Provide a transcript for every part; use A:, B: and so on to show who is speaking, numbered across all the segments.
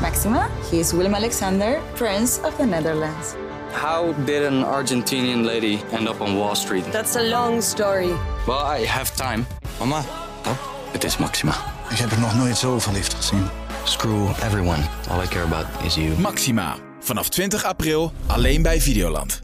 A: Maxima. He is Willem Alexander, Prince of the Netherlands.
B: How did an Argentinian lady end up on Wall Street?
C: That's a long story.
B: Well, I have time.
D: Mama,
B: Het is Maxima.
E: Ik heb er nog nooit zo verliefd gezien.
B: Screw everyone. All I care about is you.
F: Maxima. Vanaf 20 april alleen bij Videoland.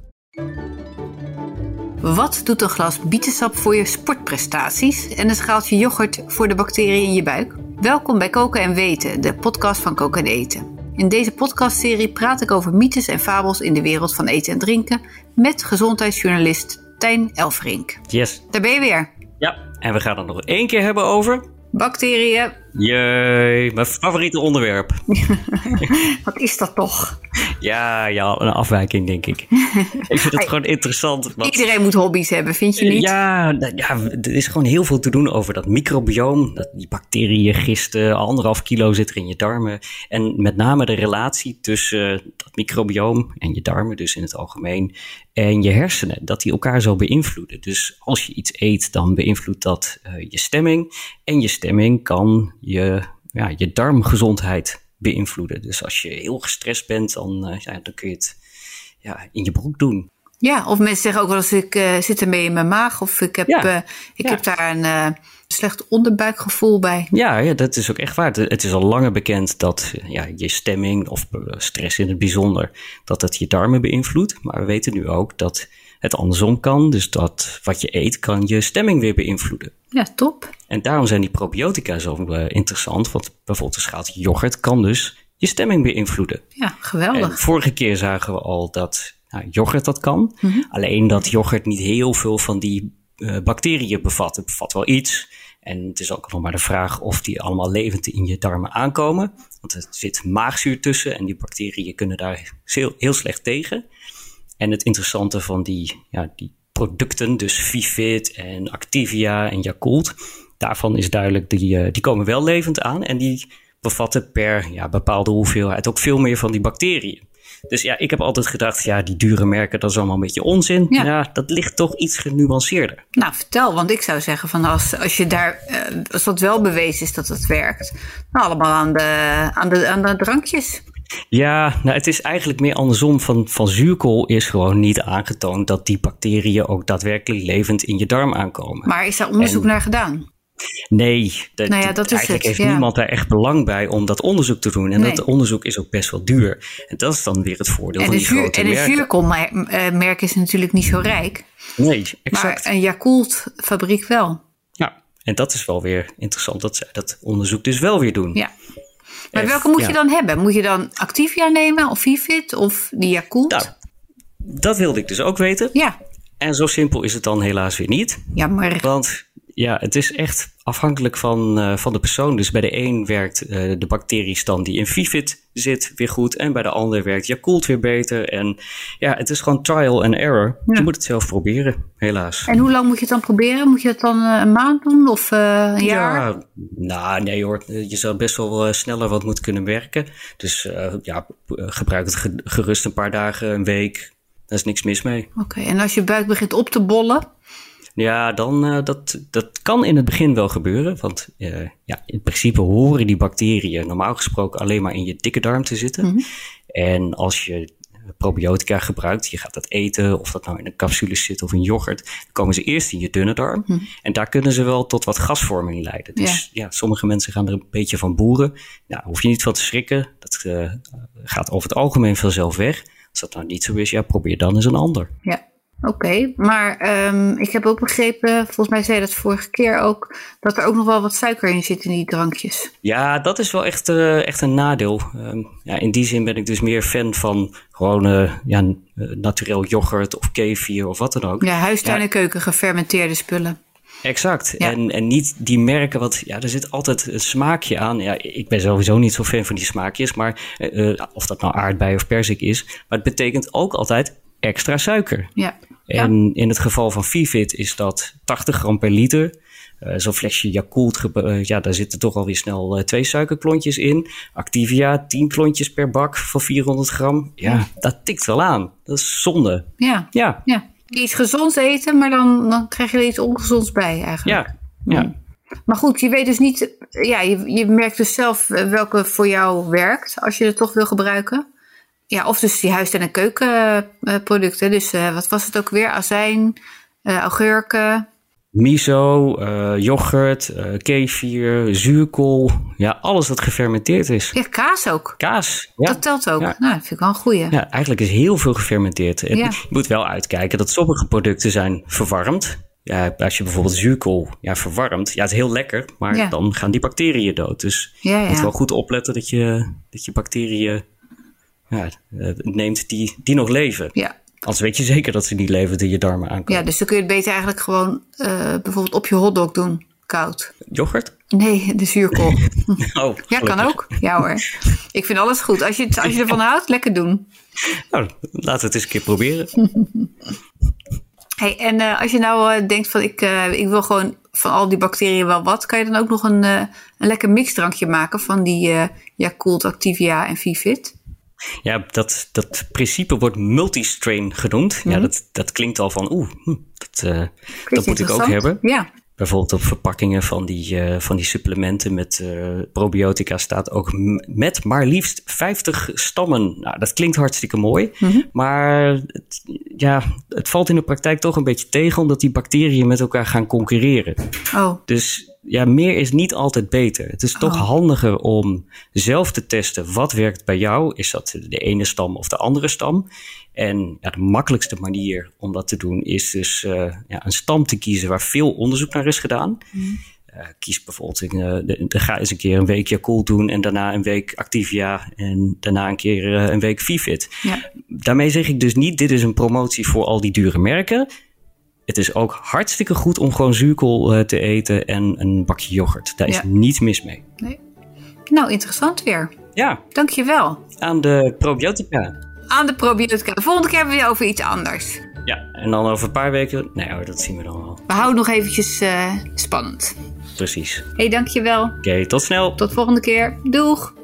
G: Wat doet een glas bietensap voor je sportprestaties en een schaaltje yoghurt voor de bacteriën in je buik? Welkom bij Koken en Weten, de podcast van Koken en Eten. In deze podcastserie praat ik over mythes en fabels in de wereld van eten en drinken met gezondheidsjournalist Tijn Elfrink.
H: Yes.
G: Daar ben je weer.
H: Ja. En we gaan het nog één keer hebben over.
G: Bacteriën,
H: Jee, mijn favoriete onderwerp.
G: wat is dat toch?
H: Ja, ja, een afwijking denk ik. ik vind het gewoon interessant. want-
G: Iedereen moet hobby's hebben, vind je niet?
H: Ja, nou ja, er is gewoon heel veel te doen over dat microbioom. Dat die bacteriën, gisten, anderhalf kilo zit er in je darmen. En met name de relatie tussen eh, dat microbioom en je darmen, dus in het algemeen, en je hersenen. Dat die elkaar zo beïnvloeden. Dus als je iets eet, dan beïnvloedt dat eh, je stemming. En je stemming kan je, ja, je darmgezondheid beïnvloeden. Dus als je heel gestrest bent, dan, eh, ja, dan kun je het ja, in je broek doen.
G: Ja, of mensen zeggen ook wel eens, ik eh, zit ermee in mijn maag. Of ik heb,
H: Ja.
G: eh, ik
H: Ja.
G: heb daar een eh, slecht onderbuikgevoel bij.
H: Ja, ja, dat is ook echt waar. Het- Het is al langer bekend dat eh, ja, je stemming of eh, stress in het bijzonder, dat dat je darmen beïnvloedt. Maar we weten nu ook dat het andersom kan. Dus dat wat je eet kan je stemming weer beïnvloeden.
G: Ja, top.
H: En daarom zijn die probiotica zo eh, interessant. Want bijvoorbeeld een schaaltje yoghurt kan dus je stemming beïnvloeden.
G: Ja,
H: En
G: geweldig.
H: vorige keer zagen we al dat nou, yoghurt dat kan. Alleen dat yoghurt niet heel veel van die eh, bacteriën bevat. Het bevat wel iets. En het is ook nog maar de vraag of die allemaal levend in je darmen aankomen. Want er zit maagzuur tussen en die bacteriën kunnen daar heel, heel slecht tegen. En het interessante van die, ja, die producten, dus Vivit en Activia en Yakult, daarvan is duidelijk, die, eh, die komen wel levend aan en die bevatten per ja, bepaalde hoeveelheid ook veel meer van die bacteriën. Dus ja, ik heb altijd gedacht, ja, die dure merken, dat is allemaal een beetje onzin.
G: Ja.
H: Ja, dat ligt toch iets genuanceerder.
G: Nou, vertel, want ik zou zeggen van als, als je daar, eh, als dat wel bewezen is dat het werkt, nou allemaal aan de, aan de, aan de drankjes.
H: Ja, nou, het is eigenlijk meer andersom. Van, van zuurkool is gewoon niet aangetoond dat die bacteriën ook daadwerkelijk levend in je darm aankomen.
G: Maar is daar onderzoek naar gedaan?
H: Nee, de-
G: Nou ja,
H: de-
G: dat is het,
H: eigenlijk heeft
G: ja.
H: niemand daar echt belang bij om dat onderzoek te doen. En
G: Nee.
H: dat onderzoek is ook best wel duur. En dat is dan weer het voordeel
G: En
H: van
G: de,
H: die
G: zuur,
H: grote
G: en de
H: merken.
G: zuurkoolmerk is natuurlijk niet zo rijk,
H: Nee,
G: maar eh,
H: exact.
G: een Yakult fabriek wel.
H: ja. En dat is wel weer interessant dat zij dat onderzoek dus wel weer doen.
G: Ja. Maar
H: Eh,
G: welke moet
H: ja.
G: je dan hebben? Moet je dan Activia nemen of Vivit of die Yakult?
H: Nou, dat wilde ik dus ook weten.
G: Ja,
H: En zo simpel is het dan helaas weer niet.
G: jammer.
H: Want ja, het is echt afhankelijk van, eh, van de persoon. Dus bij de een werkt eh, de bacteriestam die in Vivit zit weer goed. En bij de ander werkt Yakult weer beter. En ja, het is gewoon trial and error. Je moet het zelf proberen, helaas.
G: En hoe lang moet je het dan proberen? Moet je het dan eh, een maand doen of eh, een jaar?
H: Ja, nou nee hoor, je zou best wel eh, sneller wat moeten kunnen werken. Dus eh, ja, gebruik het ge- gerust een paar dagen, een week. Daar is niks mis mee.
G: Oké, en als je buik begint op te bollen,
H: Ja, dan, eh, dat, dat kan in het begin wel gebeuren. Want eh, ja, in principe horen die bacteriën normaal gesproken alleen maar in je dikke darm te zitten. En als je probiotica gebruikt, je gaat dat eten, of dat nou in een capsule zit of in yoghurt, dan komen ze eerst in je dunne darm. En daar kunnen ze wel tot wat gasvorming leiden. Dus ja. sommige mensen gaan er een beetje van boeren. Nou, hoef je niet van te schrikken. Dat eh, gaat over het algemeen vanzelf weg. Als dat nou niet zo is, ja, probeer dan eens een ander.
G: Ja, oké. Maar ehm, ik heb ook begrepen, volgens mij zei je dat vorige keer ook, dat er ook nog wel wat suiker in zit in die drankjes.
H: Ja, dat is wel echt, eh, echt een nadeel. Ehm, ja, in die zin ben ik dus meer fan van gewoon eh, ja, n- eh, naturel yoghurt of kefir of wat dan ook.
G: Ja, huistuin en keuken, gefermenteerde spullen.
H: Exact.
G: Ja.
H: En, en niet die merken, want ja, er zit altijd een smaakje aan. Ja, ik ben sowieso niet zo fan van die smaakjes, maar eh, eh, of dat nou aardbei of perzik is. Maar het betekent ook altijd extra suiker.
G: Ja. ja.
H: En in het geval van Vivit is dat 80 gram per liter. Eh, Zo'n flesje Yakult, gebe- eh, ja, daar zitten toch alweer snel eh, twee suikerklontjes in. Activia, 10 klontjes per bak van 400 gram. Ja, dat tikt wel aan. Dat is zonde.
G: ja.
H: Ja,
G: ja. Iets gezonds eten, maar dan, dan krijg je er iets ongezonds bij eigenlijk.
H: ja, ja.
G: Maar goed, je weet dus niet, ja, je, je merkt dus zelf eh, welke voor jou werkt als je het toch wil gebruiken. Ja, of dus die huis- en keukenproducten. Dus eh, wat was het ook weer? Azijn, eh, augurken.
H: Miso, eh, yoghurt, eh kefir, zuurkool. Ja, alles wat gefermenteerd is.
G: Ja, kaas ook.
H: Kaas. Ja.
G: Dat telt ook.
H: Ja.
G: Nou, dat vind ik wel een goeie.
H: Ja, eigenlijk is heel veel gefermenteerd. En
G: Ja.
H: Je moet wel uitkijken dat sommige producten zijn verwarmd. Ja, als je bijvoorbeeld zuurkool ja, verwarmt, ja, het is heel lekker, maar
G: Ja.
H: dan gaan die bacteriën dood. Dus
G: Ja,
H: je moet
G: ja.
H: wel goed opletten dat je, dat je bacteriën ja, eh, neemt die, die nog leven.
G: Ja.
H: Anders weet je zeker dat ze niet leven die je darmen aankomen.
G: Ja, dus dan kun je het beter eigenlijk gewoon eh, bijvoorbeeld op je hotdog doen, koud.
H: Yoghurt?
G: Nee, de zuurkool.
H: Oh,
G: Ja, kan
H: gelukkig.
G: ook. Ja hoor. Ik vind alles goed. Als je, het- als je ervan houdt, lekker doen.
H: Nou, laten we het eens een keer proberen.
G: Hey, en eh, als je nou eh, denkt van ik, eh, ik wil gewoon van al die bacteriën wel wat, kan je dan ook nog een, eh, een lekker mixdrankje maken van die eh Yakult, Activia en Vivit?
H: Ja, dat, dat principe wordt multistrain genoemd.
G: Mhm.
H: Ja, dat, dat klinkt al van oeh, hm, dat, eh, dat moet ik ook hebben.
G: Ja,
H: Bijvoorbeeld op verpakkingen van die, eh, van die supplementen met eh, probiotica staat ook m- met maar liefst 50 stammen. Nou, dat klinkt hartstikke mooi. Maar het, ja, het valt in de praktijk toch een beetje tegen, omdat die bacteriën met elkaar gaan concurreren.
G: oh,
H: Dus ja, meer is niet altijd beter. Het is toch handiger om zelf te testen wat werkt bij jou. Is dat de ene stam of de andere stam? En ja, de makkelijkste manier om dat te doen is dus eh, ja, een stam te kiezen waar veel onderzoek naar is gedaan. Eh, kies bijvoorbeeld, een, eh, de, de- ga eens een keer een weekje cool doen en daarna een week Activia en daarna een keer eh, een week Vivit.
G: ja.
H: Daarmee zeg ik dus niet, dit is een promotie voor al die dure merken. Het is ook hartstikke goed om gewoon zuurkool eh, te eten en een bakje yoghurt. Daar is
G: Ja.
H: niets mis mee.
G: Nee. Nou, interessant weer.
H: Ja,
G: Dankjewel.
H: aan de probiotica.
G: Aan de probiotica. De volgende keer hebben we weer over iets anders.
H: Ja, en dan over een paar weken... Nou ja, dat zien we dan wel.
G: We houden nog eventjes eh, spannend.
H: Precies. Oké,
G: hey, dankjewel.
H: tot snel.
G: Tot volgende keer. Doeg!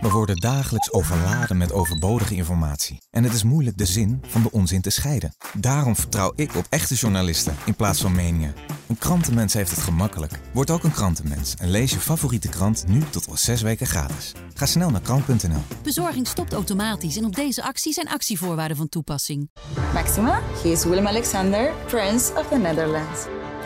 C: We worden dagelijks overladen met overbodige informatie. En het is moeilijk de zin van de onzin te scheiden. Daarom vertrouw ik op echte journalisten in plaats van meningen. Een krantenmens heeft het gemakkelijk. Word ook een krantenmens en lees je favoriete krant nu tot al zes weken gratis. Ga snel naar krant.nl.
D: Bezorging stopt automatisch en op deze actie zijn actievoorwaarden van toepassing.
A: Maxima, he is Willem Alexander, Prince of the Netherlands.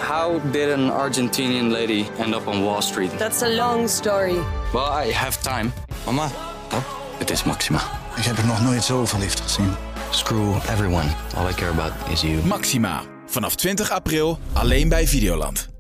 B: How did an Argentinian lady end up on Wall Street?
I: That's a long story.
B: Well, I have time. Mama, oh, it is Maxima.
E: Ik heb er nog nooit zo verliefd gezien.
B: Screw everyone. All I care about is you.
F: Maxima. Vanaf 20 april alleen bij Videoland.